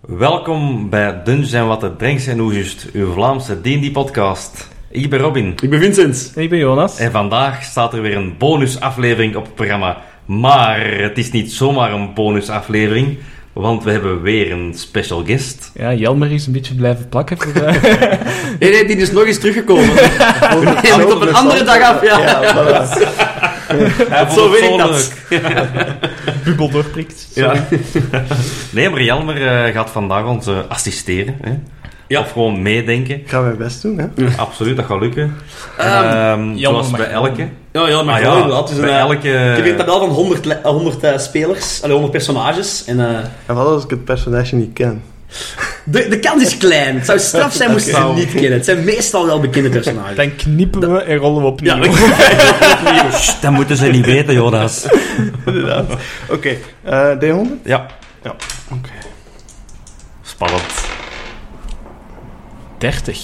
Welkom bij Dungeons en Wat het Brengt en Oezust, uw Vlaamse D&D-podcast. Ik ben Robin Ik ben Vincent. Ik ben Jonas. en vandaag staat er weer een bonusaflevering op het programma. Maar het is niet zomaar een bonusaflevering, want we hebben weer een special guest. Ja, Jelmer is een beetje blijven plakken voor eh, de... Nee, nee, die is nog eens teruggekomen. Die hangt op een andere dag af, ja. Hij vond zo het werkt dat. leuk. bubbel doorprikt. Ja. nee, maar Jelmer eh, gaat vandaag ons eh, assisteren. Hè? Ja. Of gewoon meedenken. Ik ga mijn best doen, hè. Absoluut, dat gaat lukken. Ehm, Ehm, Jelmer zoals mag bij gewoon. elke. Ja, ja, maar Ah gewoon inderdaad. Dus een, bij eh, Ik heb een elke... tabel van 100, le- eh, 100 eh, spelers, allee, 100 personages. En, eh, En wat als ik het personage niet ken? de, de kans is klein. Het zou straf zijn moest je ze Oké. niet kennen. Het zijn meestal wel bekende personages. Dan knippen we en rollen we opnieuw. Ja, Sst, dat moeten ze niet weten, Jonas. Inderdaad. Oké, eh, D100? Ja, Oké. spannend. 30.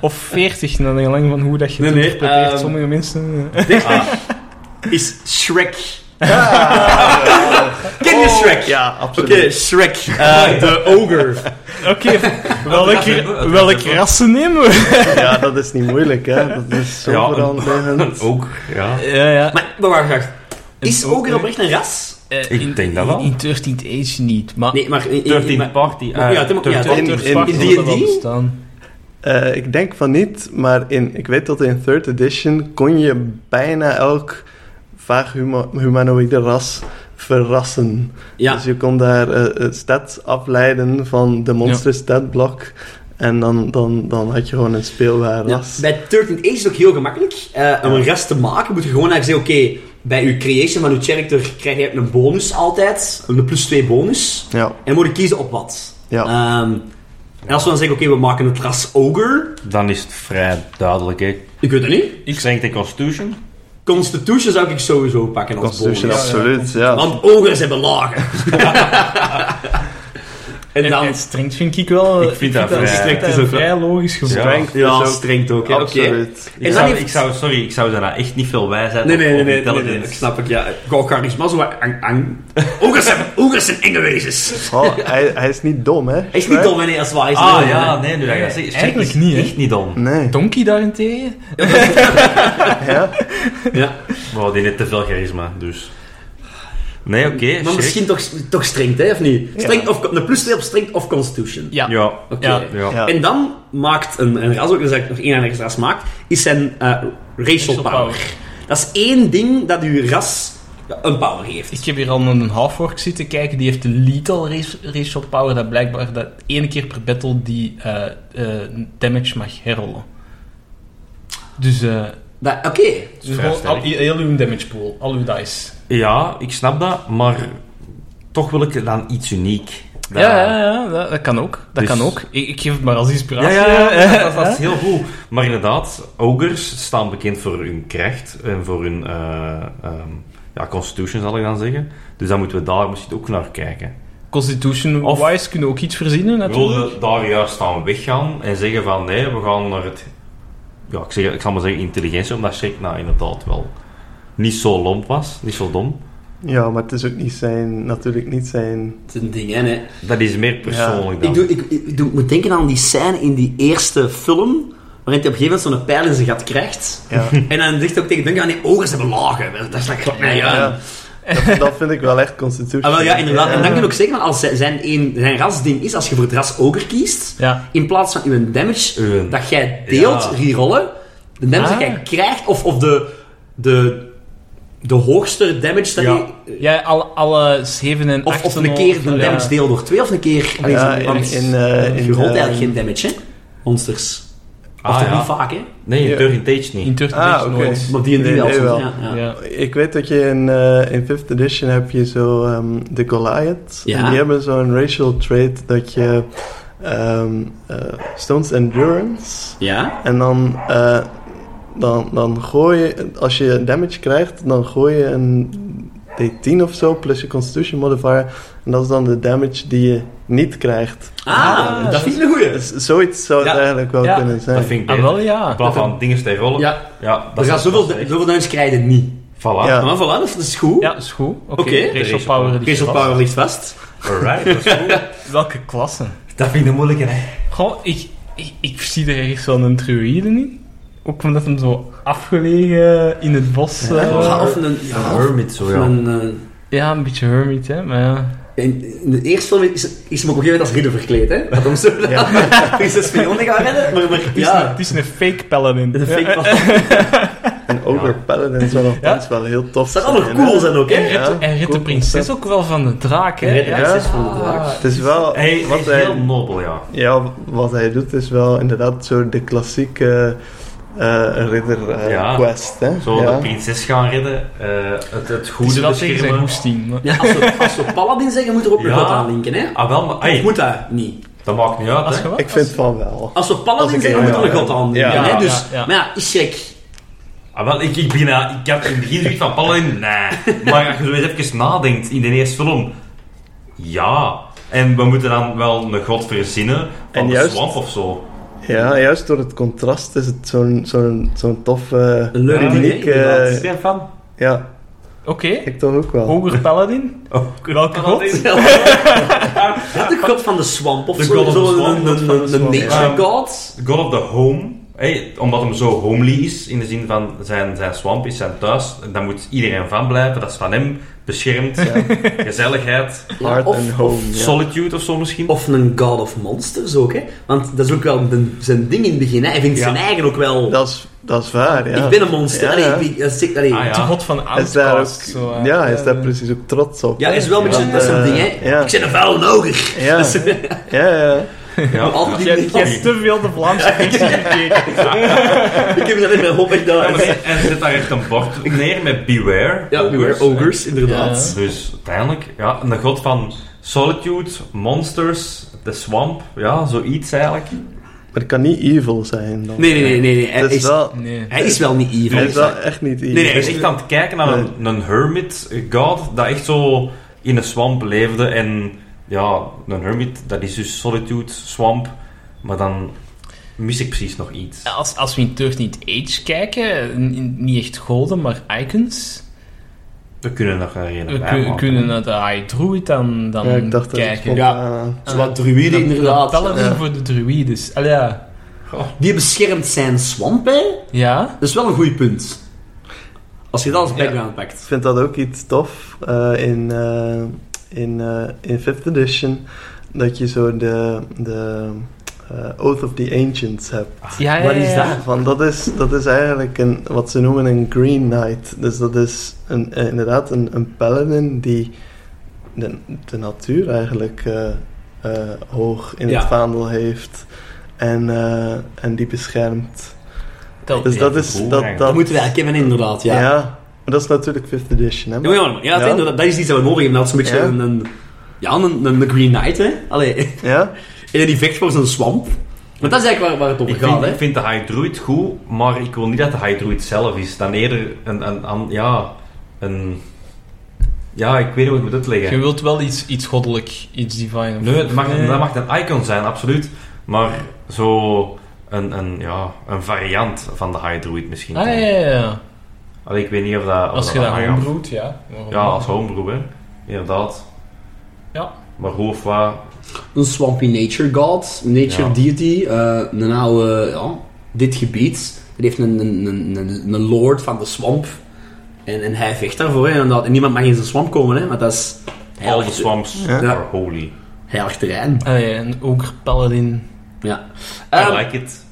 Of 40, naar gelang van hoe dat je Nee, het nee, interpreteert. ehm, Sommige mensen... eh. Is Shrek. Ken je Shrek? Ja, Oké, Shrek. eh, de ogre. Oké, welke, hebben- welke rassen nemen we? Ja, dat is niet moeilijk, hè. Dat is zo Ja, vooral bij hen. Ook, ja. Ja, ja. Maar, maar waar graag. Is Een ogre? ogre oprecht een ras? Ik denk dat wel. In 13th Age niet, maar... Nee, maar... in- in- in- 13 maar- Party. Ja, het mag- ja, het mag- in- in D&D? staan. Eh, ik denk van niet, maar in, ik weet dat in 3rd edition kon je bijna elk vaag huma- humanoïde ras verrassen. Ja, Dus je kon daar eh eh, stats afleiden van de monster statblok. En dan, dan, dan had je gewoon een speelbaar Ja, ras. bij 13 Age is het ook heel gemakkelijk. Eh, om een ras te maken moet je gewoon eigenlijk zeggen, oké, bij je creation van je character krijg je een bonus altijd. Een plus 2 bonus. Ja, En moet je kiezen op wat. ja. Ehm, en als we dan zeggen, oké, we maken het ras ogre. Dan is het vrij duidelijk, hè. Ik weet het niet. Strength en Constitution. Constitution zou ik sowieso pakken als Constitution, bonus. Dus absoluut, ja. Want ogres hebben lagen. en En, dan... en Ah, strength vind ik wel... Ik vind dat vrij- strength is een ook wel- vrij logisch gevoel. Ja. Strength Ja, is dus ook... strengt ook, hè. Oké. Absoluut. Ik dan zou, heeft- ik zou, sorry, ik zou daarna echt niet veel wijsheid Nee, of- nee, of nee, nee, nee, intelligence. nee, ik snap het, ja. Gewoon charisma, zo wat ang, ang. Ogres zijn, ogres zijn enge wezens. Oh, hij, hij is niet dom, hè? Hij is niet dom, meneer, als waar. Ah ja, nee, nu dat je dat zegt. Eigenlijk Eigenlijk niet, niet, hè. echt niet dom. Nee. Donkey daarentegen? Ja? ja. Maar die heeft te veel charisma, dus... Nee, oké, Maar Shrek. misschien toch, toch strengt, hè, of niet? Strengt of, een plus 2 op strength of constitution. Ja. Ja, Oké. Ja. ja. Ja. En dan maakt een, een ras, ook dus dat ik nog één ander ras maakt, is zijn eh, racial power. Dat is één ding dat uw ras een power heeft. Ik heb hier al een half-orc zitten kijken, die heeft de lethal race- racial power, dat blijkbaar dat ene keer per battle die eh, eh, damage mag herrollen. Dus, eh Dat- Oké. dus vrij gewoon al, sterk. heel uw damage pool, al uw dice. Ja, ik snap dat, maar toch wil ik dan iets uniek. Ja, Nou. Dat- ja, ja, dat, dat kan ook. Dat Dus- kan ook. Ik, ik geef het maar als Ja, inspiratie. ja, hè. ja, dat, dat is heel goed. Maar inderdaad, ogers staan bekend voor hun kracht en voor hun eh, ehm, ja, constitution, zal ik dan zeggen. Dus dan moeten we daar misschien ook naar kijken. Constitution-wise kunnen we ook iets verzinnen, natuurlijk. Wilde daar juist van weggaan en zeggen van nee, we gaan naar het... Ja, ik, zeg, ik zal maar zeggen intelligentie, omdat Shrek nou inderdaad wel niet zo lomp was, niet zo dom. ja, maar het is ook niet zijn... Natuurlijk niet zijn... Het is een ding, hè. hè. Dat is meer persoonlijk dan. Ik, doe, ik, ik doe- ik moet denken aan die scène in die eerste film, waarin hij op een gegeven moment zo'n pijl in zijn gat krijgt. Ja. En dan zegt hij ook tegen Duncan, "Ah, nee, ogers hebben lagen. Dat is lekker. Nee, ja. Ja. Dat, dat vind ik wel echt constitution. Ah, wel, ja, inderdaad. En dan kun je ook zeggen, van, als zijn, zijn, een, zijn rasding is, als je voor het ras ogre kiest, Ja. in plaats van uw damage Uw- dat jij deelt, Ja. rerollen, de damage Ah. dat jij krijgt, of, of de, de, de hoogste damage dat Ja. je... Ja, alle, alle 7 en 8 Of, of een keer de damage deel door twee, of een keer... Ah, ja, in, want in, eh, in, je rolt eigenlijk eh, geen damage, hè? Monsters. Ah, of toch ja. niet vaak, hè? Nee, Ja. in Dirty Tage niet. In Turtle Ah, oké. nooit. Maar die en die Nee, wel. nee, soms, wel. Ja, ja. Ja. Ik weet dat je in, eh, in 5th edition heb je zo ehm, de Goliath. Ja. En die hebben zo'n racial trait dat je... ehm, eh, Stones Endurance... Ja? En dan, eh, dan, dan gooi je, als je damage krijgt, dan gooi je een D10 of zo, plus je Constitution modifier. En dat is dan de damage die je niet krijgt. Ah, dat vind ik een Dus goeie. Zoiets zou het Ja. eigenlijk wel Ja, kunnen zijn. Dat vind ik Ah, beter. wel ja. In plaats van dingen te rollen. Ja, Ja, er is- gaan zoveel, dat is echt- Ah, zoveel damage krijgen niet. Voilà. dus Ja. Maar voilà, dat is goed. Ja, is goed. Oké, Oké. racial Racial power. power. die Crystal klas. Power ligt vast. Alright, dat is goed. Welke klassen? Dat vind ik de moeilijke, hè. Goh, ik, ik, ik zie er ergens wel een druïde in. Ook omdat hem zo afgelegen in het bos... eh, Ja, Ja, of een, ja, Een of hermit, zo ja. een, eh, een beetje hermit, hè. Maar ja. in, in de eerste film is, is hem op een gegeven moment als ridder verkleed, hè? Dat hem zo ja. prinses Fiona gaat redden. Maar, maar Het is, een, ja, het is een fake paladin. de fake was. En ook Ja. weer Paladin zou nog Ja. steeds wel heel tof Dat zou zijn. allemaal hè. cool zijn ook, hè? En redt, Ja, en redt de cool prinses concept. ook wel van de draak, hè? Red de Ja. prinses van de draak. Het is wel... Hij wat is hij- heel nobel, ja. Ja, wat hij doet is wel inderdaad zo de klassieke eh ridder eh, Ja. quest. Hè? Zo ja. de prinses gaan redden, eh, het, het Het is goede wel tegen zijn beschermen. hoesting. maar- Ja, als, we, als we Paladin zeggen, moet er ook nog Ja. wat aan linken, hè? Ah wel, maar Of hey, moet dat niet? dat maakt niet uit, Als hè. je wat- Ik vind van wel. Als we Als Paladin ik- zeggen, ja, moet er ja, nog wat ja. aan linken, Ja. hè? Ja, Dus, ja. Maar ja, is gek. Ah, wel, ik, ik, ben, eh, ik had in het begin zoiets van Paladin, nee. Maar als je zo eens even nadenkt in de eerste film, ja. En we moeten dan wel een god verzinnen van En de juist- swamp of zo. Ja, juist door het contrast is het zo'n zo'n zo'n tof... eh, Een leuk uniek, idee, eh, inderdaad. Is jij van? ja, Oké, ik toch ook wel. hoger paladin. Oh, Welke god? Ja, de god van de swamp of De zo. god of de zo swamp, een- de god een- van de een swamp, nature ja. god. God of the Home. Hey, omdat hem zo homely is, in de zin van zijn, zijn swamp is zijn thuis. En daar moet iedereen van blijven. Dat is van hem beschermd. Gezelligheid. Ja, Oh, Heart of- and Home. ja. Solitude of zo misschien. Of een God of Monsters ook, hè? Want dat is ook wel de- zijn ding in het begin, hè? Hij vindt Ja. zijn eigen ook wel. Dat is, dat is waar, ja. Ik ben een monster. Ja, Allee, ja. ik ben- dat zegt- allee. Ah, De ja. god van Hij is daar ook, Outcast. zo, eh. ja, hij is daar eh, precies ook trots op. Ja, hè. is wel een beetje Want, dat is een eh, ding, hè? ja. Ik ben een vuil ogre. Ja, ja, ja. Ja. Altijd Jij die jij hebt te veel de Vlaamse fictie gekeken. Ik heb dat in mijn hoofd echt Ja, maar daar. nee, en zit daar echt een bord neer met beware. Ja, nu weer ogres, inderdaad. Dus uiteindelijk, ja, een god van solitude, monsters, de swamp. Ja, zoiets eigenlijk. Maar het kan niet evil zijn dan. Nee, nee, nee, nee. nee. Hij, Het is is, wel... Nee. hij is wel niet evil. Hij is wel echt niet evil. Nee, nee, ik ben echt aan het kijken naar Nee. een, een hermit god dat echt zo in een swamp leefde. En ja, een hermit, dat is dus solitude, swamp. Maar dan mis ik precies nog iets. Als, als we in 13 Age kijken, n- n- niet echt goden, maar icons. We kunnen nog een We reden kun- kunnen naar de High Druid dan, dan Ja, ik dacht dat het eh, kijken. Ja. spontaan- Zo wat druïde, Dan- inderdaad. dan Paladin Ja. voor de druïdes. Allee, ja. Die beschermt zijn swamp, hè? Ja? Dat is wel een goed punt. Als je dat als background pakt. Ik vind dat ook iets tof eh, in, eh in, eh in 5th edition. Dat je zo de, de eh, Oath of the Ancients hebt. Ja, ja, Wat is ja. dat? Want dat is, dat is eigenlijk een, wat ze noemen een Green Knight. Dus dat is een, eh, inderdaad een, een paladin die de, de natuur eigenlijk eh, eh, hoog in Ja. het vaandel heeft. En, eh, en die beschermt. Dat- Dus dat is... cool Dat, eigenlijk. Oh, Dat dat, moeten we eigenlijk hebben, inderdaad. ja. maar dat is natuurlijk 5th edition. Hè? Ja, maar ja, maar- ja, het Ja. inderdaad, dat is iets dat we nodig hebben. Dat is een beetje Ja. een, een- ja, een, een, een Green Knight, hè. Allee, Ja? en die vecht voor zijn swamp. Maar dat is eigenlijk waar, waar het Ik over gaat, vind, ik hè. vind de High Druid goed, maar ik wil niet dat de High Druid zelf is. Dan eerder een, een, een- ja, een... Ja, ik weet niet hoe ik moet Je uitleggen. wilt wel iets, iets goddelijk, iets divine. of- Nee, het mag, dat mag een icon zijn, absoluut. Maar zo een, een, ja, een variant van de High Druid misschien. Ah, ja, ja, ja. Allee, ik weet niet of dat... Of Als je dat dat aangaat. homebroedt, ja. Waarom Ja, niet? als homebrew, hè. Inderdaad. Ja. Maar hoe of wat... Een swampy nature god, nature Ja. deity, eh, een oude, ja, dit gebied. Dat heeft een, een, een, een, een lord van de swamp. En, en hij vecht daarvoor, hè, inderdaad. En niemand mag in zijn swamp komen, hè, want dat is All the heilig, swamps Ja. are holy. heilig terrein. Ah, ja, een ogre paladin. Ja. I Ehm, like it.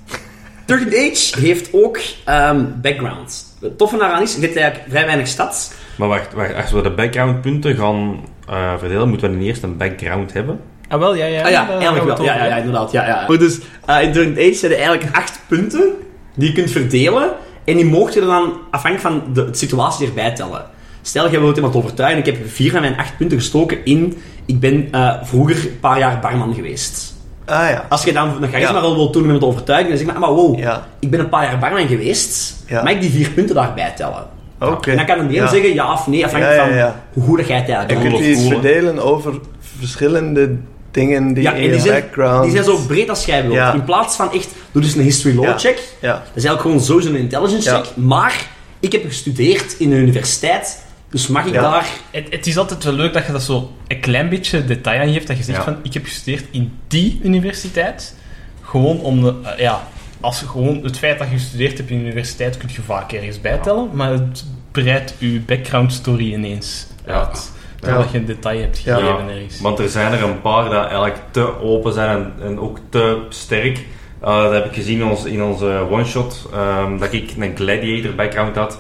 13 Age heeft ook ehm, background. Het toffe daaraan is, je hebt eigenlijk vrij weinig stads. Maar wacht, wacht, als we de backgroundpunten gaan eh, verdelen, moeten we dan eerst een background hebben. Ah, wel, ja, ja. Ah ja, daar eigenlijk gaan we wel. Ja, het over ja, ja, hebben. inderdaad. Ja, ja. Maar dus, eh, in Durant Age zijn er eigenlijk acht punten die je kunt verdelen. En die mocht je er dan afhankelijk van de, de situatie erbij tellen. Stel, jij wilt iemand overtuigen. Ik heb vier van mijn acht punten gestoken in... Ik ben eh, vroeger een paar jaar barman geweest. Ah ja. Als je dan een charisma Ja. rol wilt doen om iemand te overtuigen, dan zeg je maar, maar wow, Ja. ik ben een paar jaar barman geweest. Ja. Mag ik die vier punten daarbij tellen? Oké. En dan kan een deel Ja. zeggen ja of nee, Ja, afhankelijk ja, ja. van hoe goed dat jij het eigenlijk Je Ik doet. kunt Cool, die eens cool, hè? verdelen over verschillende dingen die Ja, en in je die zijn, background... die zijn zo breed als jij wilt. Ja. In plaats van echt, doe dus een history law Ja. check. Ja, Dat is eigenlijk gewoon sowieso een intelligence Ja. check. Maar ik heb gestudeerd in de universiteit, dus mag ik Ja. daar... Het, het is altijd wel leuk dat je dat zo een klein beetje detail aan geeft. Dat je zegt Ja. van, ik heb gestudeerd in die universiteit. Gewoon om de... eh, ja, als je gewoon het feit dat je gestudeerd hebt in de universiteit kun je vaak ergens bijtellen. Maar het breidt je background story ineens Ja. uit. Terwijl je een detail hebt Ja. gegeven ergens. Want er zijn er een paar dat eigenlijk te open zijn en, en ook te sterk. Eh, dat heb ik gezien in, ons, in onze one-shot, ehm, dat ik een gladiator background had.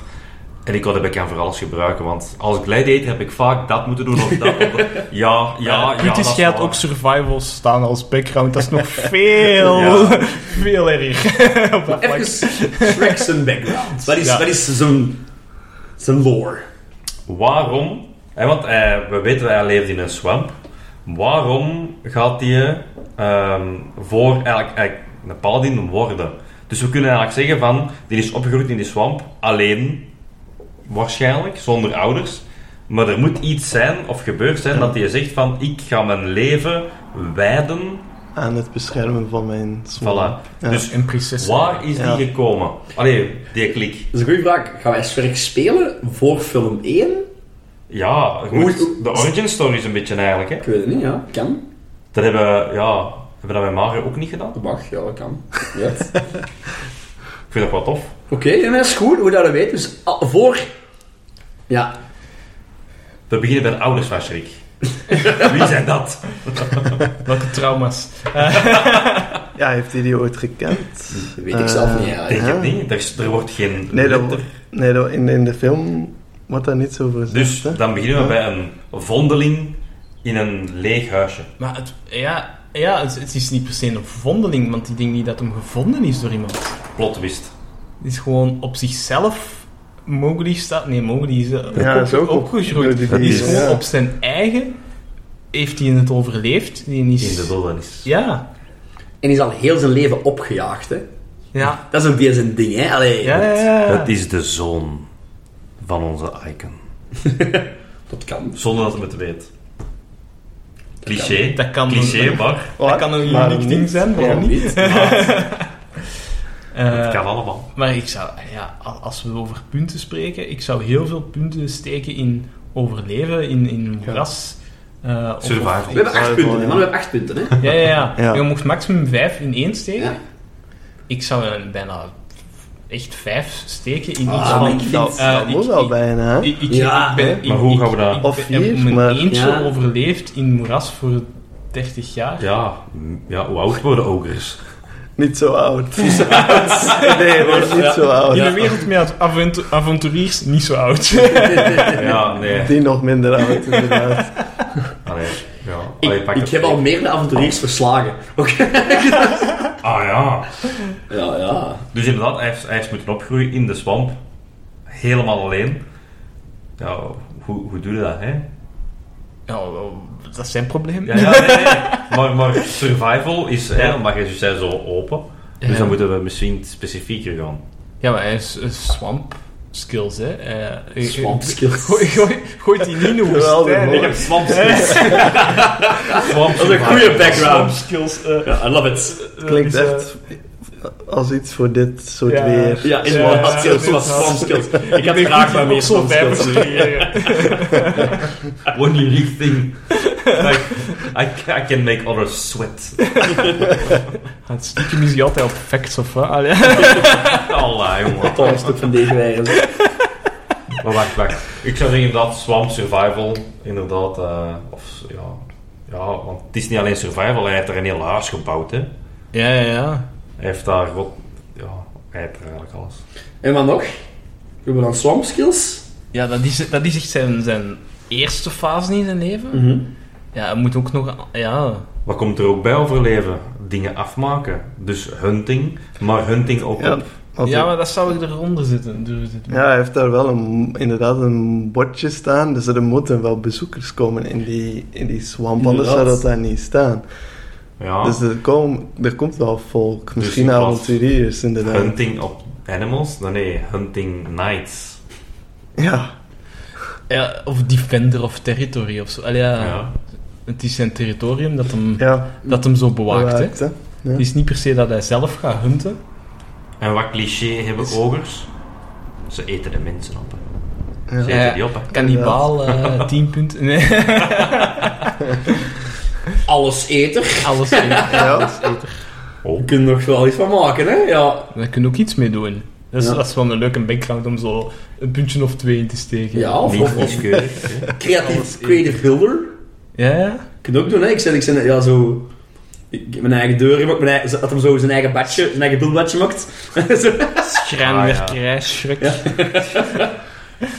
En ik kon de background voor alles gebruiken, want als gladiator heb ik vaak dat moeten doen of dat. of dat. Ja, ja, ja. Kritisch dat is gaat waar. ook survival staan als background. Dat is nog veel, Ja. veel erger. Op dat vlak. Even Shrek zijn background. Wat is, Ja. wat is zijn, zijn lore? Waarom? Hè, want eh, we weten dat hij leeft in een swamp. Waarom gaat hij ehm, voor eigenlijk, eigenlijk een paladin worden? Dus we kunnen eigenlijk zeggen van, die is opgegroeid in die swamp, alleen waarschijnlijk, zonder ouders. Maar er moet iets zijn of gebeurd zijn dat hij zegt van, ik ga mijn leven wijden. aan het beschermen van mijn smaak. Voilà. Ja. Dus Een prinses. waar is Ja. die gekomen? Allee, die klik. Dat is een goede vraag. Gaan wij Shrek spelen voor film 1? Ja, je Hoe- moet- de origin story is een beetje eigenlijk. Hè. Ik weet het niet, ja. Kan. Dat hebben, ja, hebben we dat bij Mario ook niet gedaan. Dat mag, ja, dat kan. Ja. Ik vind dat wel tof. Oké, en dat is goed, hoe dat we weten. Dus ah, voor... Ja. We beginnen bij de ouders van Schrik. Wie zijn dat? Welke trauma's? Ja, heeft hij die ooit gekend? Dat weet ik zelf Eh, niet Ik denk eigenlijk. het niet. Er, is- er wordt geen Nee, dat, letter. nee dat, in, in de film wordt daar niets over gezegd. Dus hè? dan beginnen we bij een vondeling in een leeg huisje. Maar het, ja, ja het, het is niet per se een vondeling, want ik denk niet dat hem gevonden is door iemand. Plot wist. Het is gewoon op zichzelf. Mowgli staat... Nee, Mowgli is, eh, Ja, dat is ook op- opgegroeid. door die Die is dieren, gewoon ja. op zijn eigen... Heeft hij het overleefd? Die is, In de wildernis. Ja. En is al heel zijn leven opgejaagd, hè. Ja. Dat is ook weer zijn ding, hè. Allee, Ja, ja, ja. Het is de zoon van onze icon. dat kan. Zonder dat hij het weet. Cliché. Dat kan. Cliché, maar Dat kan een Waarom uniek ding niet? zijn, waarom Waarom niet? niet? Eh, het kan allemaal. Maar ik zou, ja, al- als we over punten spreken, ik zou heel veel punten steken in overleven, in, in moeras. eh, of- Survival. We hebben acht Sorry, punten, hè, man, ja. man. We hebben acht punten, hè. Ja, ja, ja. Ja. Je mocht maximum vijf in één steken. Ja. Ik zou er bijna echt vijf steken in iets Ah, van... ik vind- Dat, eh, dat ik- moet al ik- bijna, hè? Ik, ik, Ja, ik ben, hè? ik, Maar hoe ik- gaan we dat- ik- Of ik heb vier, mijn maar- eentje Ja. overleefd in moeras voor 30 jaar. Ja, mm, ja, hoe oud worden ogers? Niet zo oud. nee, dat is niet zo oud. In een wereld met avontu- avonturiers, niet zo oud. Ja, nee. Die nog minder oud, inderdaad. Allee, ja. Allee, Ik, pak ik het. heb al meerdere avonturiers verslagen. Oké. Ah ja. Ja, ja. Dus inderdaad, hij heeft, hij heeft moeten opgroeien in de swamp. Helemaal alleen. Ja, hoe, hoe doe je dat, hè? Ja, Nou, wel, dat is zijn probleem. Ja, ja, nee, nee. Maar, maar survival is, hè, maar je zei zo open. Dus Ja. dan moeten we misschien specifieker gaan. Ja, maar hij is eh, swamp skills, hè. Eh, eh, Swamp skills. Gooi, gooi, gooit die niet in de Geweldig, woestijn. hoor. Ik heb swamp skills. Swamp Dat is een goede background. skills. eh, Ja, I love it. eh, Klinkt is, eh, echt als iets voor dit soort Ja. weer. Ja, Ja, inderdaad. ja, skills, ja, was ja. swamp skills. Ik had denk graag dat maar je meer ook zo'n swamp skills. vijf moet creëren. One unique thing. Like, I, I can make others sweat. Het stiekem is hij altijd op facts of wat. Allee. Allah, jongen. Toch een stuk van deze wijze. Maar wacht, wacht. Ik zou zeggen inderdaad, swamp survival, inderdaad, eh, of ja. Ja, want het is niet alleen survival, hij heeft er een heel huis gebouwd, hè. Ja, ja, ja. Hij heeft daar, wat, ja, hij heeft er eigenlijk alles. En wat nog? We hebben dan swamp skills. Ja, dat is, dat is echt zijn, zijn eerste fase in zijn leven. Ja, hij moet ook nog... een- Ja, Wat komt er ook bij overleven? Dingen afmaken. Dus hunting, maar hunting ook Ja, op. want ja ik- maar dat zou ik eronder zitten. durven zitten. ja, hij heeft daar wel een, inderdaad een bordje staan. Dus er moeten wel bezoekers komen in die, in die swamp. Anders zou Inderdaad. Ah. dat daar niet staan. Ja, Dus er, kom, er komt wel volk. Dus Misschien in plaats- eh, avonturiers, inderdaad. hunting op animals? Nee, nee, hunting Nou, nights. Ja. Ja, of Defender of Territory of zo. Allee, ja, Ja. Het is zijn territorium dat hem, Ja. dat hem zo bewaakt. hè. bewaakt, hè. Het is niet per se dat hij zelf gaat hunten. En wat cliché hebben Is- ogers? Ze eten de mensen op. hè. Ja. Ze Ja. eten die op. hè. Kannibaal, eh 10 punten. Nee. Alleseter. Alles. in. Ja. We kunnen nog wel iets van maken, hè? Ja. Daar kun je ook iets mee doen. Dat is, Ja. dat is wel een leuke background om zo een puntje of twee in te steken. Ja, of, Niet of, of kieskeurig. hè. creatief, creative builder. Ja, ja. Ik kan het ook doen, hè. Ik zet, ik zet ja, zo... Ik heb mijn eigen deur gemaakt, mijn eigen, dat hem zo zijn eigen badje, zijn eigen buildbadje maakt. Zo. Ah, Schrijnwerkerij, schrik. Ja.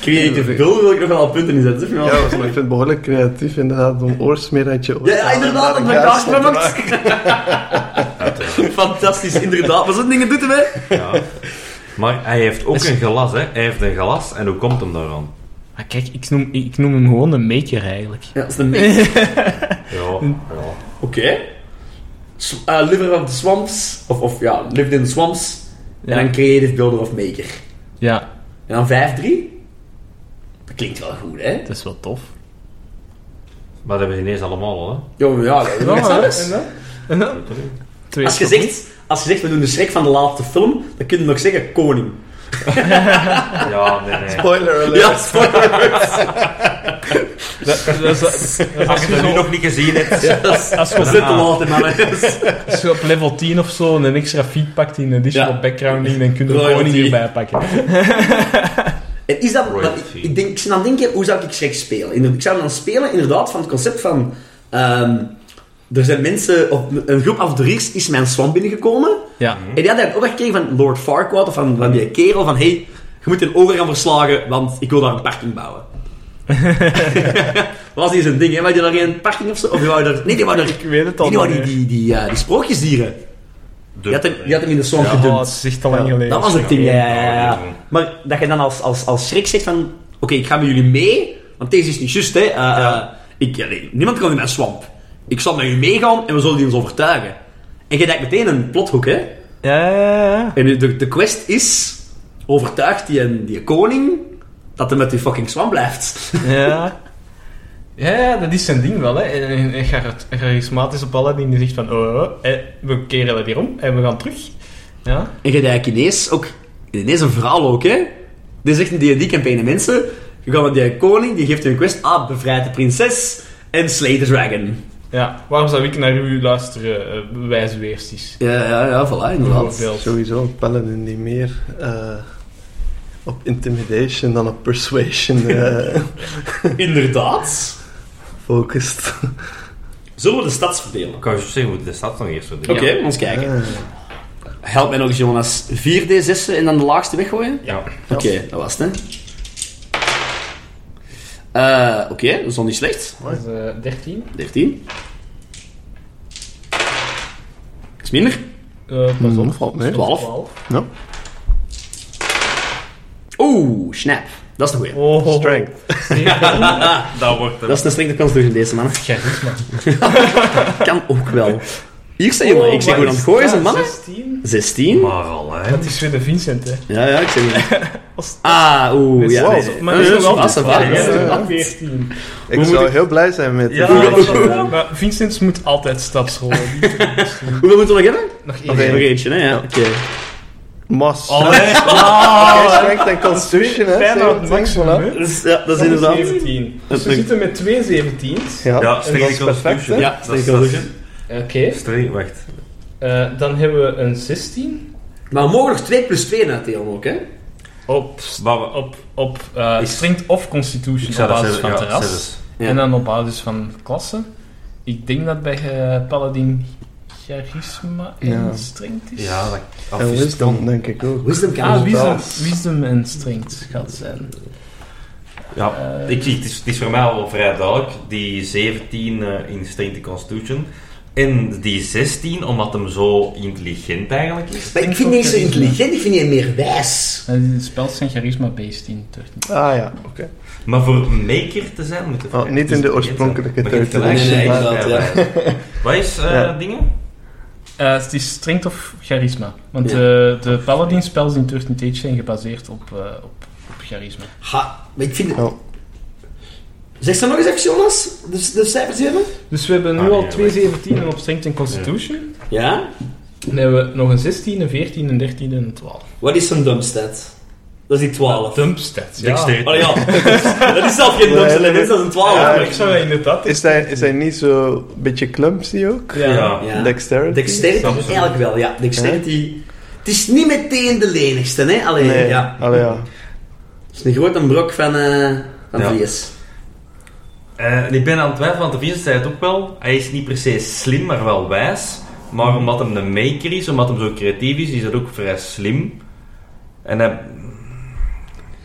Creative builder wil ik nog wel al punten inzetten. Ja, Ja, maar ik vind het behoorlijk creatief inderdaad om oorsmeer uit je oor ja, ja, inderdaad, dat Daar ben ik gaas daar van van te gemaakt. maken. Fantastisch, inderdaad. Maar zo'n dingen doet hem, hè. Ja. Maar hij heeft ook een glas, hè. Hij heeft een glas. En hoe komt hem daaraan? Maar kijk, ik noem, ik noem hem gewoon een maker eigenlijk. Ja, dat is de meest. Ja, ja. Oké. S- eh, Liver of the Swamps. Of, of ja, Lived in the Swamps. Ja. En dan Creative Builder of Maker. Ja, En dan 5-3. Dat klinkt wel goed, hè? dat is wel tof. Maar dat hebben ze ineens allemaal al, hè. Jongen, ja, dat Ja, is alles. en dan? En dan? Twee Als je, is goed. zegt, als je zegt, we doen de schrik van de laatste film, dan kun je nog zeggen koning. Ja, nee, nee. Spoiler alert. Ja, spoiler alert. Dat- dat is- dat Als is- je als je het nu zo- nog niet gezien hebt... Yes. als je We op- zitten later, mannen. als je op level 10 of zo een extra feed pakt in additional Ja. backgrounding, dan kun je Royalty. gewoon niet erbij pakken. En is dat... dat Royalty. ik, ik denk, ik zit aan het denken, hoe zou ik schrik spelen? Inder- Ik zou dan spelen, inderdaad, van het concept van... ehm, er zijn mensen... Op, een groep avonturiers is mijn swamp binnengekomen. Ja. En die had eigenlijk ook gekregen van Lord Farquaad, of van, van die kerel, van... Hey, je moet een oger gaan verslagen, want ik wil daar een parking bouwen. Dat was niet zijn ding, hè? Wou je daar geen parking of zo? Of je wou daar... Nee, die wou daar... Ik weet het al Die, wou die, niet die, die, eh, die sprookjesdieren. De- Die had, hem, die had hem in de swamp meer. Ja, gedumpt. het is echt al lang geleden. Dat was het ding, ja, ja, ja, ja. Ja, ja. Maar dat je dan als, als, als schrik zegt van... Oké, ik ga met jullie mee, want deze is niet juist, hè. Eh, eh, ik, ja, nee, niemand kan in mijn swamp. Ik zal met jullie meegaan en we zullen die ons overtuigen. En je denkt meteen een plothoek, hè. Ja, ja, ja, ja. En de, de quest is... Overtuigt die, een- die koning dat hij met die fucking swamp blijft. Ja. Ja, ja, dat is zijn ding wel. Hè. En, en, en char- charismatisch op Aladdin die zegt van, oh, oh, eh, we keren dat hier om en we gaan terug. Ja. En je denkt ineens ook... Ineens een verhaal ook, hè. Dit is echt een D&D-campagne, mensen. Je gaat met die koning, die geeft je een quest. Ah, bevrijd de prinses en slay the dragon. ja. Waarom zou ik naar u luisteren, uh, wijze weersties? Ja, ja, ja, voilà, inderdaad. Bijvoorbeeld. Sowieso een paladin die meer eh, op intimidation dan op persuasion eh, Inderdaad. focust. Zullen we de stads verdelen? Ik kan je zeggen hoe de stad nog eerst Oké, ons kijken. Eh, Help mij nog eens, Jonas. 4d6 en dan de laagste weggooien? Ja. Oké, dat was het, hè. Eh, Oké, dat is nog niet slecht. Dat is eh, 13. 13. Is minder. Eh, pas Zon op. valt mee. 12. 12. Ja. Oeh, snap. Dat is de goeie. Oh, Strength. Dat wordt er. Dat is een strengte kans tegen deze mannen. Charisma. Kan ook wel. Hier zijn jongen. ik zeg gewoon aan het gooien, zijn mannen. 16. 16. Maar al, hè. Dat is weer de Vincent, hè. Ja, ja, ik zeg gewoon. Ah, oeh, ja. Wow, nee. maar dat is Eh, nog zo altijd vast, zwaar, hè. hè. Ja. 14. Ik zou heel blij zijn met Ja, dit. dat is wel- maar Vincent moet altijd stadsrollen. Die- Hoeveel moeten we nog hebben? Nog Nog één. eentje, hè? Ja, oké. Mas. Allee. Strength en constitution, hè. Fijn aan het 17, maximum, voilà. hè. Dus, ja, dat is Dat is inderdaad. 17. Dus we is- zitten met twee 17's. Ja, Ja, en dat is strength perfect, hè. constitution. Ja, dat is strength dat. constitution. Oké. Strength, wacht. Eh, dan hebben we een 16. Maar we mogen nog 2 plus 2 uitdelen ook, hè? Op, Maar we- op, op eh, Is- strength of constitution oh, Ik op zou dat basis zeggen, van ja, terras. zes. Ja. En dan op basis van klasse. Ik denk dat bij eh, paladin charisma en Ja. strength is. Ja, dat... of En is- wisdom, denk ik ook. Wisdom kan Ah, ah, wisdom, dat- wisdom en strength gaat zijn. Ja, Eh, ik, ik- het, is, het is voor mij wel vrij duidelijk. Die 17 eh, in Strength and Constitution. En die 16, omdat hem zo intelligent eigenlijk is. Maar ik vind die niet zo intelligent, ik vind die meer wijs. En de spels zijn charisma-based in 13. Ah ja, oké. Maar voor maker te zijn moet het Oh, vrij niet in de intelligent oorspronkelijke zijn. Begint Thirteen te Action, lijken, nee, nee, ja. inderdaad, Wat is eh, Ja. dingen? Eh, het is strength of charisma. Want Ja. eh, de paladin spells in 13 Age zijn gebaseerd op, eh, op, op charisma. Ha, maar ik vind... Ja. Zeg ze nog eens even, Jonas? De, de cijfers hebben? Dus we hebben nu Ah, al nee, 2 17 op Strength en Constitution. Ja? Dan hebben we nog een 16, een 14, een 13 en een 12. Wat is zo'n dumpstat? Dat is die 12. Dumpstats, Oh, ja. Dexterity. Allee, ja. dat is zelf geen dumpstat, dat is dat een 12. Ja, Ja, ik zou inderdaad... Is hij, is hij niet zo beetje clumsy ook? Ja. Ja. Ja. Dexterity? Dexterity Dat is een- eigenlijk wel, ja. Dexterity... Het is niet meteen de lenigste, hè. Alleen, Nee, ja. allee, ja. Het is een grote brok van, eh van Ja. vlees. Eh, en ik ben aan het twijfelen, want de Vincent zei het ook wel. Hij is niet per se slim, maar wel wijs. Maar Mhm. omdat hem een maker is, omdat hem zo creatief is, is dat ook vrij slim. En hij...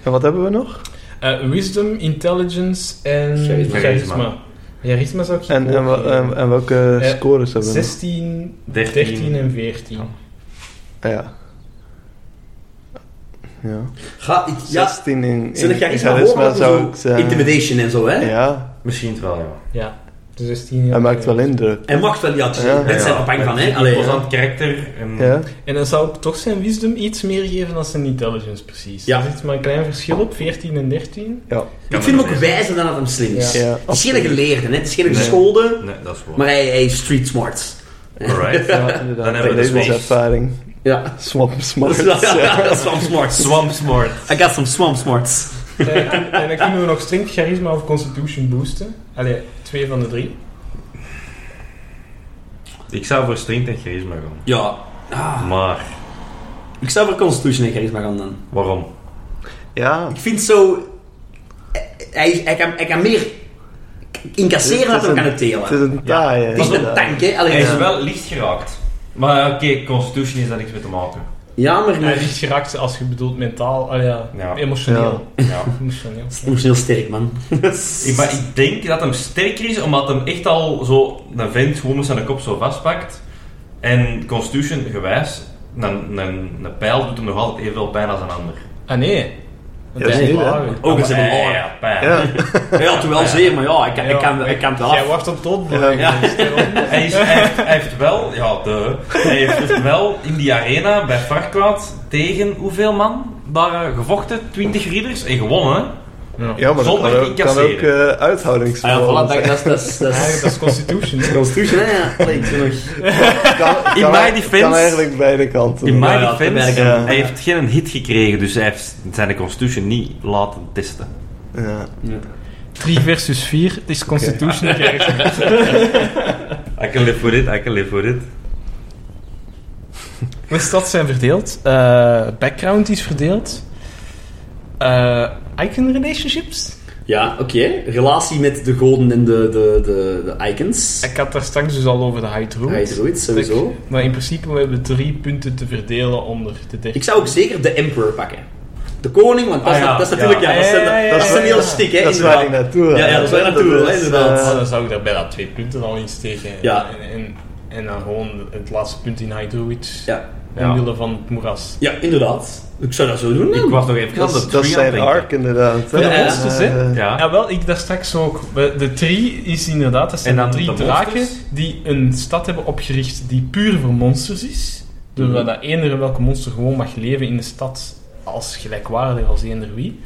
En wat hebben we nog? Eh, wisdom, intelligence en Charisma. charisma. Charisma, zou ik hier En, en, ook wa- en, geven. en welke Eh, scores hebben we? nog? 16, 13. 13, en 14. Ah, Ja. Ja. Ga, ik, ja, 16 in, in zijn er charisma charisma horen, zou zo ik zeggen. intimidation en zo, hè. dus Ja, Misschien het wel, ja. Ja, de 16. hij en maakt wel indruk. Hij mag wel, ja, het is- Ja. daar ben zelf bang van, hè. Allee, Allee, aan het karakter. En... Ja. En dan zou ik toch zijn wisdom iets meer geven dan zijn intelligence, precies. Ja. Er zit maar een klein verschil op, 14 en 13. ik vind hem ook wijzer dan dat hem slim is. Ja. Ja, Het is geen geleerde, hè. Het is geen Nee. geschoolde, Nee, dat is waar. maar hij, hij is street smart. Alright. Ja, inderdaad. Dan hebben we de levenservaring. Ja. Swamp Dat smart. is wel- ja, swamp smarts. Swamp smart. I got some swamp smarts. Eh, en, en dan kunnen we nog strength, charisma of constitution boosten. Allee, twee van de drie. Ik zou voor strength en charisma gaan. Ja. Ah, Maar, ik zou voor Constitution en charisma gaan dan. waarom? Ja. Ik vind zo... Hij, hij, kan, hij kan meer incasseren dan Het is hij kan een- het telen. Het is een taaie. Het is een inderdaad. tank, hè. Allee, Hij is ja. wel licht geraakt. Maar oké, constitution is daar niks mee te maken. Ja, maar... Hij maar- is geraakt als je bedoelt mentaal, ah ja, Ja. emotioneel. Ja. Emotioneel. Emotioneel sterk, man. Ik, maar ik denk dat hem sterker is, omdat hem echt al zo een vent gewoon met zijn kop zo vastpakt. En Constitution gewijs, een, een, een pijl doet hem nog altijd evenveel pijn als een ander. Ah nee. dat is niet, hè. lager. Ook eens in ja, een ja, oor. ja, pijn. Ja. Hij had wel zeer, maar ja, ik kan, ik kan, ik kan het wel Jij af. wacht op tot. Ja. Ja. Hij, is, hij, heeft, hij heeft wel, ja, de, hij heeft dus wel in die arena bij Farquaad tegen hoeveel man daar eh, gevochten? 20 ridders en gewonnen. hè? Ja, maar dat Zonder kan ook, kan ook incasseren. eh, Ah ja, voilà, uithoudingsvermogen dat, zijn. dat, dat, dat Ja, is... dat is constitution. hè. Constitution, hè? Ja, Allee, ik doe nog... Kan- In kan- mijn defense- Kan eigenlijk beide kanten. In Ja, mijn ja, dat defense, merk ik. eh, hij heeft geen hit gekregen, dus hij heeft zijn Constitution niet laten testen. Ja. 3 versus 4 is constitution. charisma. I can live with it, I can live with it. De stads zijn verdeeld. eh, background is verdeeld. Eh, icon relationships. Ja, oké. Relatie met de goden en de, de, de, de icons. Ik had daar straks dus al over de high Hij is truth. zoiets, sowieso. Maar in principe we hebben drie punten te verdelen onder de 13. Ik zou ook zeker de emperor pakken. De koning, want dat, is Ah, ja. dat is natuurlijk... Ja, Ja, dat is ja, een, ja, dat ja, is een ja. heel stik, hè? Dat is inderdaad. waar ik naartoe wil. eh, Ja, ja, dat is waar ik naartoe wil, is, inderdaad. eh, Ah, dan zou ik daar bijna twee punten al in steken. Ja. En, en, en dan gewoon het laatste punt in high druids. Ja. Ja. Omwille van het moeras. ja, inderdaad. Ik zou dat zo doen. Ik man. was nog even aan dat, de is- dat is zijn arc inderdaad. hè. Ja, de Eh, monsters, hè? Ja. Ja, wel, ik daar straks ook. We- De tree is inderdaad, dat zijn En de dan drie de draken monsters? die een stad hebben opgericht die puur voor monsters is. Dus Mhm. waar dat eender welke monster gewoon mag leven in de stad als gelijkwaardig als eender wie.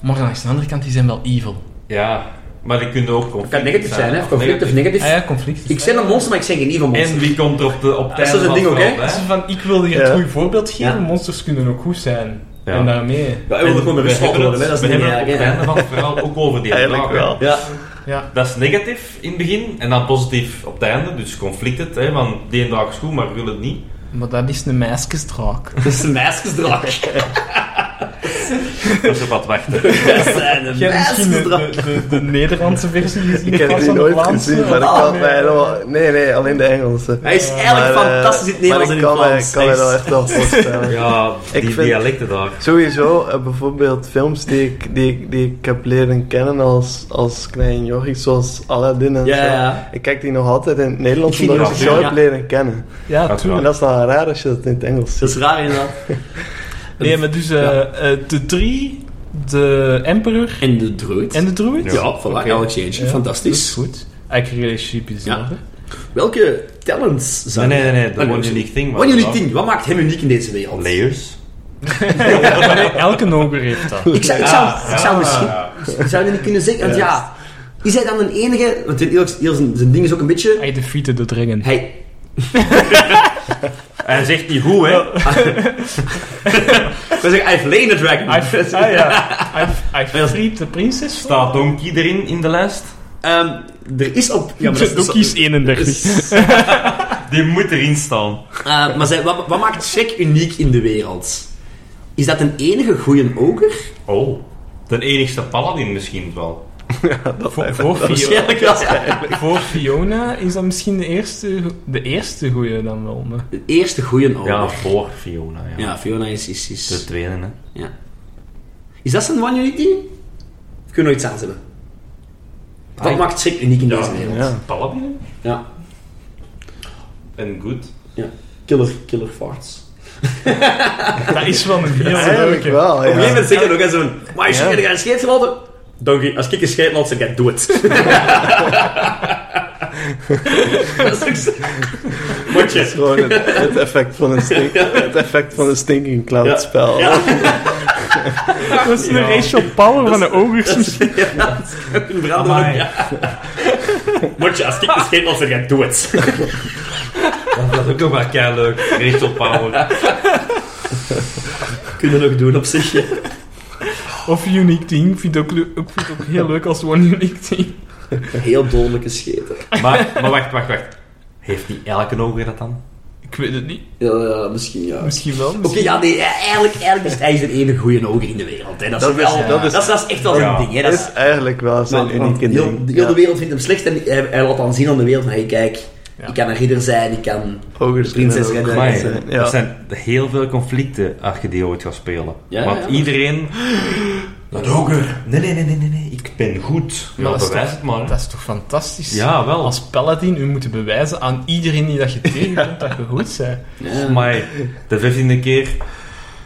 Maar aan de andere kant, die zijn wel evil. Ja, maar die kunnen ook conflict Het kan negatief zijn, hè? of Conflict of negatief. negatief. Ah ja, conflict. Ik ben een monster, maar ik ben geen evil monster. En wie komt er op, de, op is tijd een ding ook, hè? Dus van, ik wil hier het Ja. goede voorbeeld geven, Ja. monsters kunnen ook goed zijn. Ja. En daarmee. Ja, hij wilde gewoon met rust laten worden, hè? Dat is we niet hebben het op het eigenlijk, einde van het verhaal ook over die Eigenlijk draken. wel. Ja, Ja. Dat is negatief in het begin en dan positief op het einde. Dus conflict het, hè, want die dag is goed, maar we willen het niet. Maar dat is een meisjesdraak. dat is een meisjesdraak. Dus op wat wachten. Dat zijn een Jij hebt misschien de, meisjesdraak. de, de, de Nederlandse versie gezien? Ik heb plaats die van de nooit Vlaamse? gezien, maar ik Ah, kan nee. mij helemaal... Nee, nee, alleen de Engelse. Hij is eigenlijk Maar, eh, fantastisch in het Nederlands en maar in het Vlaams. ik kan Hij mij- kan mij dat is- echt wel voorstellen. Ja, die Ik vind- dialecten daar. Sowieso, eh, bijvoorbeeld films die ik, die, ik- die ik heb leren kennen als, als klein jochie, zoals Aladdin en Ja, zo. ja. Ik kijk die nog altijd in het Nederlands, Ik vind omdat ik die ze nog zo veel, heb ja. leren kennen. Ja, Uiteraard. tuurlijk. En dat is dan raar als je dat in het Engels Dat ziet. is raar inderdaad. Nee, maar dus eh, eh, de drie, de Emperor En de druid. en de Druid. Ja, voilà, Alex Eentje. Ja, Fantastisch. dat is goed. Eigen relationship is Ja. hetzelfde. Welke talents Nee, zijn nee, nee, nee. The Allee, One Unique Thing. One was unique dat. thing. Wat maakt hem uniek in deze wereld? Layers. Elke noger heeft dat. Ik zou, ik zou, ik zou Ah, misschien... ja. Ik zou dat niet kunnen zeggen, want ja... Is hij dan de enige... Want heel, heel zijn, zijn ding is ook een beetje... Hij de fieten doet ringen. Hij... Hij zegt niet goed, hè? Ik wil zeggen, hij heeft Lane the Dragon. Hij v- ah, ja. Hij v- hij vriet de prinses. voor. Staat Donkey erin in de lijst? Ehm, er is op... Ja, maar dat is- Donkey is 31. Die moet erin staan. Eh, maar zij- wat, wat maakt Shrek uniek in de wereld? Is dat een enige goeie oger? Oh. De enigste paladin misschien wel. Voor, voor, Fiona, Waarschijnlijk wel. voor Fiona is dat misschien de eerste, de eerste goeie dan wel. Maar. De eerste goeie oger. Ja, Ja, voor Fiona, ja. Fiona is... is, is... De tweede, hè. Ja. Is dat zijn one unity? Of kunnen we iets aan hebben? Wat Ah, maakt Shrek uniek in Ja. deze wereld? Ja. Paladin? Ja. En goed. Killer, killer farts. Dat is wel een heel Eigenlijk leuke. wel, Op een gegeven ja. moment zeg je nog eens zo'n... Maar is Ja. je een scheet gelaten? Donkey, als ik een scheet laat, zeg ik, doe het. dat is ook zo... Het is gewoon het, het effect van een, stink, het effect van een stinking cloud Ja. spel. Dat is de racial power van de ogers misschien. Ja, dat is ook een verhaal dat Amai. ook- ja. Motje, als ik een scheet laat, zeg ik, doe het. Dat is ook nog wel kei leuk. Rachel Power. Kunnen we nog doen op zich. ja. Of unique team. Ik vind het ook, le- ik vind het ook heel leuk als one unique team. Heel dodelijke scheten. Maar, maar wacht, wacht, wacht. Heeft niet elke ogen dat dan? Ik weet het niet. Ja, ja, misschien ja. Misschien wel. Oké, Misschien. ja, nee, eigenlijk, eigenlijk is hij de enige goede oger in de wereld. Hè. Dat, is Dat is- wel, dat dat, is- is, dat, is, echt wel Ja. een ding. Hè. Dat Dat is, is eigenlijk wel zijn want- want unieke heel, ding. heel de Ja. wereld vindt hem slecht en hij, hij laat dan zien aan de wereld van, hey, kijk, Ja. ik kan een ridder zijn, ik kan... Ogers Prinses kunnen Redder. ook Maar Ja, goed zijn. er Ja. zijn heel veel conflicten als je die ooit gaat spelen. Ja, Want ja. iedereen... Dat ook. Nee, nee, nee, nee, nee, nee. Ik ben goed. Ja, dat is bewijs toch- het maar. Dat is toch fantastisch? Ja, wel. Als paladin, u moet bewijzen aan iedereen die dat je tegenkomt dat je goed bent. Ja. Maar de vijftiende keer...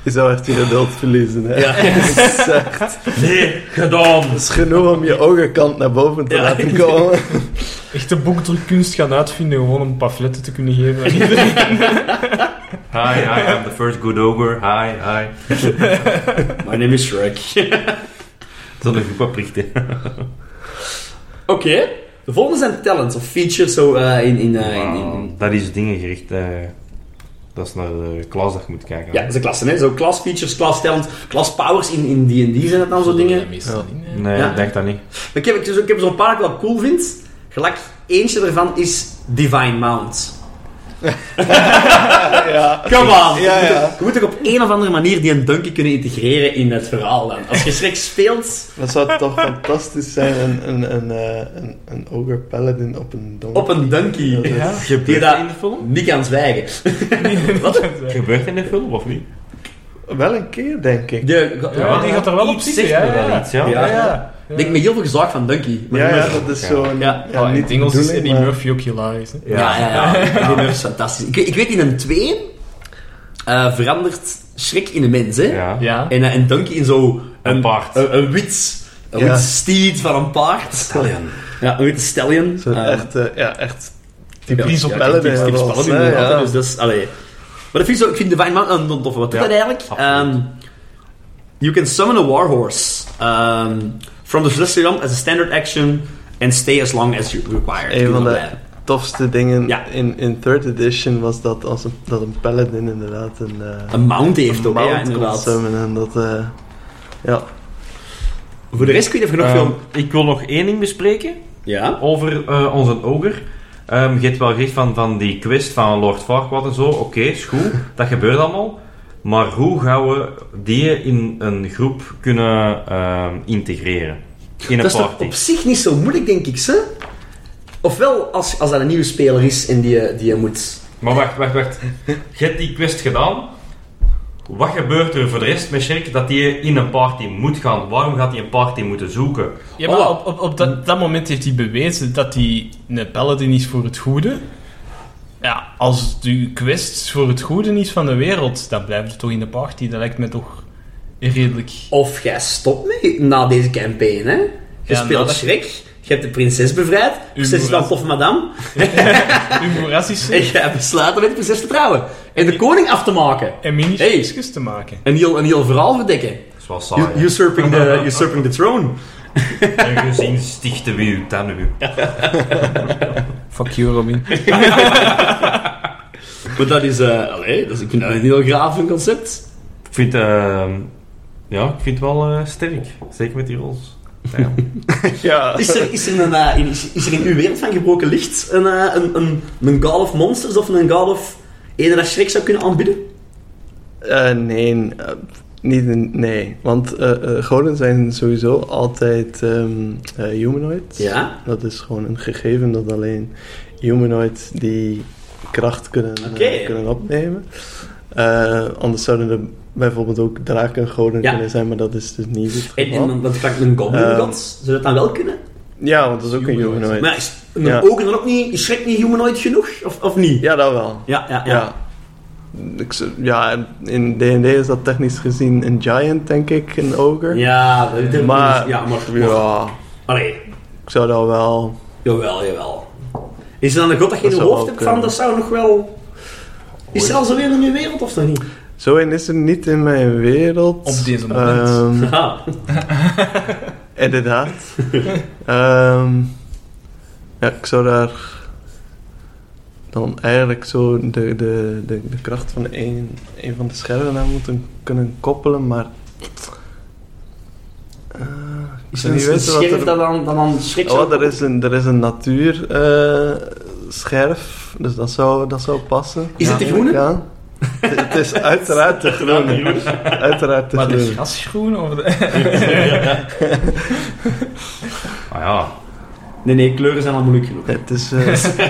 Je zou echt je adult verliezen. Hè. Ja. Dat is, eh, Nee, gedaan. dat is genoeg om je ogerkant naar boven te laten komen. Echt de boekdrukkunst gaan uitvinden gewoon om pamfletten te kunnen geven aan iedereen. Hi, hi, I'm the first good ogre. Hi, hi. My name is Shrek. Dat is een goed paprichten. Oké. De volgende zijn talents of features zo eh, in, in, eh, in, in- in- Dat is dingen gericht... eh, dat is naar de klasdag moet kijken. Ja, dat is een klasse, hè. Zo class features, class talents, class powers in in D&D zijn dat dan zo dingen. Meestal niet, hè. Nee, Ja. ik denk dat niet. Maar ik heb, dus, ik heb zo'n paar dat ik wel cool vind. Gelijk, eentje daarvan is Divine Mount. Ja. Come on! Ja, Je moet ja. ook- Je moet ook op een of andere manier die een donkey kunnen integreren in het verhaal dan. Als je Shrek speelt Dat zou toch fantastisch zijn, een, een, een, eh, een, een ogre paladin op een donker. op een donkey, Ja. Ja. die Ah, Gebeurt dat in de daar film? niet kan zwijgen. Gebeurt dat in de film, of niet? Wel een keer, denk ik. De- Ja, die gaat er wel op Iets zitten, zegt ja. me wel ja. iets, ja. Ja, ja, ja. Ik denk met heel veel gezorgd van donkey. Maar Ja, die ja, mug- dat is zo'n... Ja. Oh, in het niet Engels de is bedoeling, Eddie maar- Murphy ook hilarisch. Hè? Ja, Ehm, ja, ja. Die mug is fantastisch. Ik, ik weet in een 2 eh, verandert Shrek in een mens, hè. Ja. Ja. En, eh, en Donkey in zo Een paard. Een, een wit, een Ja. wit stiet van een paard. Stallion. Ja, een witte stallion. Zo'n Eh, echt, eh, ja, echt Prins op ja, paladin typisch- typisch wel, paladin hè, inderdaad, ja. hè, Dus dat is, allee. Maar ik vind, zo, ik vind Divine Mountain een toffe. Wat doet Ja, dat eigenlijk? absoluut. Ehm, you can summon a warhorse ehm, from the celestial realm as a standard action and stay as long as you require. Een van Kun je de wel tofste dingen Ja. in, in third edition was dat, als een, dat een paladin inderdaad een, bij. eh Een mount heeft een ook, hè, ja, mount kon inderdaad. summonen en dat... eh, ja, Voor de rest kun je even nog Ehm, veel... ik wil nog één ding bespreken Ja? over eh, onze oger. Ehm je hebt wel gezegd van, van die quest van Lord Farquaad en zo. Oké, is goed. dat gebeurt allemaal. Maar hoe gaan we die in een groep kunnen ehm, integreren? In Dat een is toch party. op zich niet zo moeilijk, denk ik, ze. Ofwel, als, als dat een nieuwe speler is en die, eh, die je moet... Maar wacht, wacht, wacht. Je hebt die quest gedaan. Wat gebeurt er voor de rest met Sherk dat die in een party moet gaan? Waarom gaat hij een party moeten zoeken? Ja, maar Oh. op, op, op dat, dat moment heeft hij bewezen dat hij een paladin is voor het goede. Ja, als de quest voor het goede is van de wereld, dan blijft het toch in de party. Dat lijkt me toch redelijk... Of jij stopt mee na deze campaign, hè? Je Ja, speelt nadat- Shrek, je hebt de prinses bevrijd, prinses is wel moeder. tof madame, Uw moeras is en er. jij besluit om met de prinses te trouwen. en de koning af te maken. En mini hey. te maken. Een heel, een heel verhaal verdekken. Dat is wel saai. hè. Usurping the, usurping the throne. Een gezin stichten wie uw tanden Fuck you, Robin. Maar dat is, eh allee, dat is, ik vind dat een heel graaf een concept. Ik vind, ehm ja, ik vind het wel eh, sterk. Zeker met die rols. Ja. Ja. Is er, is er, een, eh, in, is, is er in uw wereld van gebroken licht een, eh, een, een, een God of Monsters of een God of... Ene dat Shrek zou kunnen aanbieden? Eh, nee, eh, niet in- nee. Want eh eh goden zijn sowieso altijd ehm eh, humanoids. Ja. Dat is gewoon een gegeven dat alleen humanoids die kracht kunnen, eh, Oké. kunnen opnemen. Eh, anders zouden er bijvoorbeeld ook draken goden Ja. kunnen zijn, maar dat is dus niet het En, geval. en dan, want ik pak een goblin Ehm. god. Zou dat dan wel kunnen? ja, want dat is ook een Humanoid. humanoid. Maar is een Ja. ogen dan ook niet... Is Shrek niet humanoid genoeg? Of, of niet? Ja, dat wel. Ja, ja, ja. Ja. Ik z- ja, in D&D is dat technisch gezien een giant, denk ik, een ogre. Ja, dat- dat- Maar- Ja, maar... maar- Ja, Allee, ik zou dat wel... jawel, jawel. Is er dan een god dat je in Dat je zou eh, hoofd wel hebt van... kunnen. Dat zou nog wel... Is er al zo weer in uw wereld of toch niet? Zo en is er niet in mijn wereld. Op deze moment. Ehm, Haha. inderdaad. Ehm, ja, ik zou daar dan eigenlijk zo de, de, de, de kracht van een, een van de schermen aan moeten kunnen koppelen, maar. eh, ik Is zou er niet een, een weten wat scherf er... dat dan, dat dan Shrek zou Oh, er is een, er is een natuurscherf, dus dat zou, dat zou passen. Is het de groene? Ja. Het het is uiteraard de groene. Uiteraard de Maar de groene. grasgroen of de... Ah ja, Nee, nee, kleuren zijn al moeilijk genoeg. Het is, eh,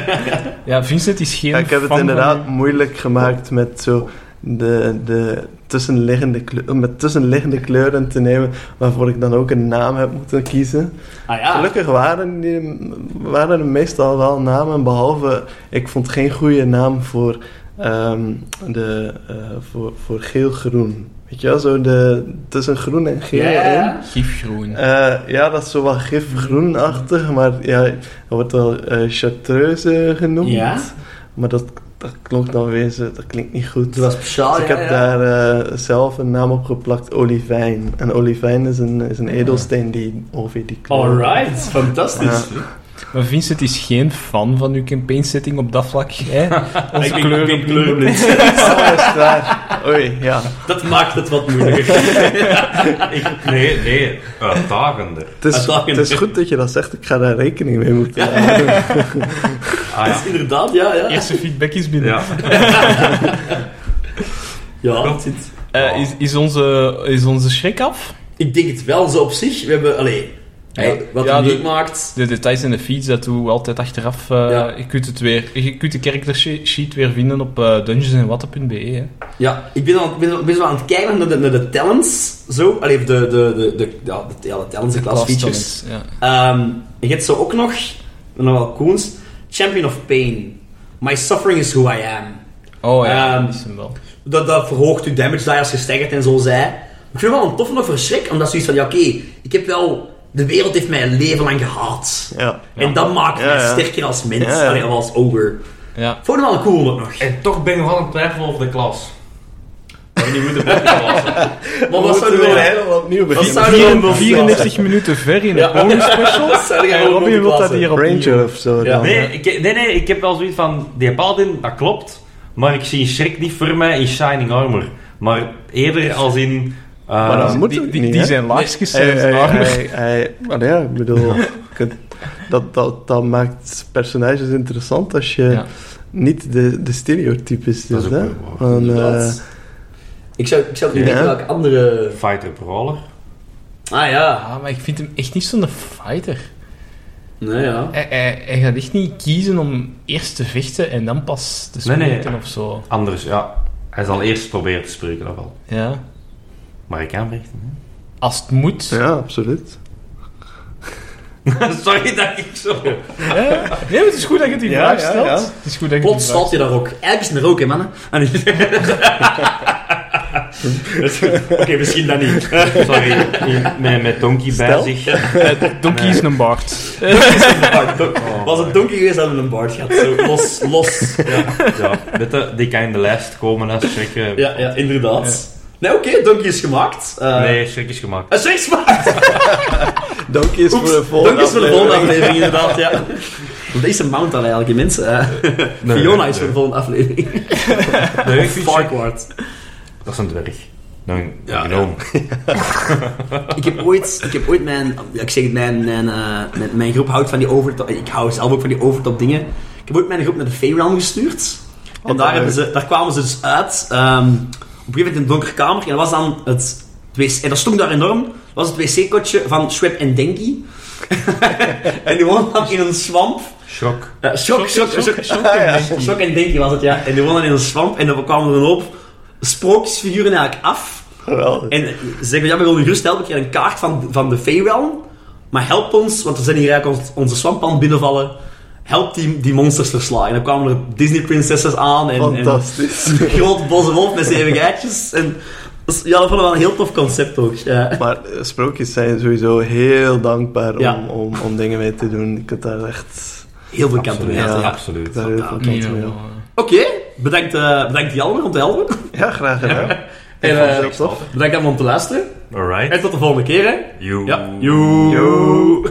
Ja, Vincent is geen ja, ik heb het fan inderdaad van- moeilijk gemaakt met zo de, de tussenliggende, kleu- met tussenliggende kleuren te nemen, waarvoor ik dan ook een naam heb moeten kiezen. Ah ja. Gelukkig waren, die, waren er meestal wel namen, behalve ik vond geen goede naam voor, ehm, de, eh, voor, voor geel-groen. Weet je wel, zo de, tussen groen en geel Ja, ja, ja. in. Gifgroen. Eh, ja, dat is zo wat gifgroenachtig, maar ja, dat wordt wel eh chartreuse genoemd. Ja. Maar dat, dat klonk dan weer zo, dat klinkt niet goed. Dat was speciaal, Dus ik ja, ja. heb daar eh, zelf een naam op geplakt, olivijn. En olivijn is een, is een edelsteen die ongeveer die kleur- Alright, fantastisch. Maar Vincent is geen fan van uw campaign setting op dat vlak. Hè? Onze ben- kleuren. ik ben kleurenblind. Oh, is het waar? Oei, ja. Dat maakt het wat moeilijker. Ik, nee, nee, uitdagender. Het is, Uitdagend. het is goed dat je dat zegt, ik ga daar rekening mee moeten houden. Ah ja. Inderdaad, ja, ja. Eerste feedback is binnen. ja. Ja, het zit- Eh, is, is, onze, is onze schrik af? Ik denk het wel zo op zich. We hebben, allee, hey, wat Ja, het de- niet maakt. De details in de feeds, dat doen we altijd achteraf. eh, Ja. Je kunt het weer, je kunt de character she- sheet weer vinden op eh dungeonsandwatten.be. hè. Ja, ik ben, al, ik ben, ik ben zo aan het kijken naar de, naar de talents. Zo, allee, de, de, de, de, ja, de, ja, de talents, de class features. talents, Ja. Ehm, je hebt zo ook nog, nog wel Koens, Champion of Pain. My suffering is who I am. Oh ja, Ehm, dat is hem wel. Dat, dat verhoogt uw damage die als je staggert en zo zei. Ik vind het wel een toffe nog verschrik, omdat zoiets van, ja oké, ik heb wel... De wereld heeft mij een leven lang gehaat. Ja. En dat maakt Ja, mij ja. sterker als mens, Ja, ja. allee, of als ogre. Ja. Vond het wel cool ook nog. En toch ben ik nog aan het twijfelen over de klas. We hebben niet moeten plassen. Maar wat zou We je moeten willen? weer helemaal opnieuw beginnen. zou je willen? 34 minuten ver in de Ja. bonus special. Wat zou jij En willen Robin wil dat multiklassen? hier opnieuw. Ranger of zo Oh, Ja. dan. Nee, ik, nee, nee, ik heb wel zoiets van... Die paladin, dat klopt. Maar ik zie Schrik niet voor mij in Shining Armor. Maar eerder als in... eh, Maar dat moet die, ook die, niet, die hè? zijn laagst Hey, gestemd. hey, hey, hey. Maar ja, ik bedoel, kunt- dat, dat, dat maakt personages interessant als je Ja. niet de, de stereotypes Dat doet. is Hè? ook wel waar, Van, eh, Inderdaad. Ik zou, ik zou niet Ja. weten welke andere... Fighter Brawler. Ah ja. Ah, maar ik vind hem echt niet zo'n fighter. Nou ja. Hij, hij, hij gaat echt niet kiezen om eerst te vechten en dan pas te Nee, spreken nee. of zo. Anders, ja. Hij zal eerst proberen te spreken, dat wel. Ja. Maar ik kan vechten, Als het moet. ja, absoluut. hè. Sorry dat ik zo... Ja. Nee, maar het is goed dat je het in Ja, vraag ja, stelt. ja. Het is goed dat je Plots het Ah, valt je in vraag daar ook. Eigenlijk is het er ook, hè, mannen. En- Oké, misschien dan niet. Sorry, in- met, met Donkey Stel. bij zich. Donkey Nee. is een baard. Ah, do- Oh, Was het donker geweest, hadden we een baard gehad. Zo, los, los. Ja, weet je, die kan in de lijst komen als Shrek... eh, Ja, ja inderdaad. Nee, oké, Donkey is gemaakt. Eh, Nee, Shrek is gemaakt. Een seks gemaakt! Donkey is voor de volgende Donkey is voor de volgende aflevering. aflevering, inderdaad, ja. Dat is een mount eigenlijk, hè, mensen. Eh, Nee, Fiona nee, is voor de nee. volgende aflevering. Nee, ik vind Shrek- Farquaad. Dat is een dwerg. Nou, Ja, ja, ja. Ik heb ooit, ik heb ooit mijn, ja, ik zeg het, mijn, mijn, eh, mijn, mijn groep houdt van die overtop, ik hou zelf ook van die overtop dingen. Ik heb ooit mijn groep naar de Feyround gestuurd. En daar, hebben ze, daar kwamen ze dus uit, ehm, op een gegeven moment in een donkere kamer, en dat was dan het, wc, en dat stond daar enorm, dat was het wc-kotje van Shweb en Denki. en die woonden dan in een swamp. Schrok. Eh, shock, shock, shock, shock, shock en Denki. Shock en Denki was het, ja. En die woonden in een swamp, en dan kwamen er een hoop sprookjesfiguren eigenlijk af. Geweldig. En ze zeggen, ja, we willen gerust helpen. Ik heb een kaart van, van de Feyrealm. Maar help ons, want we zijn hier eigenlijk ons- onze swamp aan het binnenvallen. Help die, die monsters verslaan. En dan kwamen er Disney-princesses aan. En, en een Fantastisch. groot boze wolf met zeven geitjes. En, dus ja, dat vonden we wel een heel tof concept ook. Ja. Maar eh, sprookjes zijn sowieso heel dankbaar om, Ja. om, om dingen mee te doen. Je kunt daar echt... Heel veel kanten mee. Absoluut, uit, ja. ja. Absoluut. je kunt daar heel veel kanten mee op. Oké, bedankt, eh bedankt Jelmer om te helpen. Ja, graag gedaan. En Ik vond het eh, heel tof. bedankt allemaal om te luisteren. Alright. En tot de volgende keer, hè. You. Ja. Joe. Yo.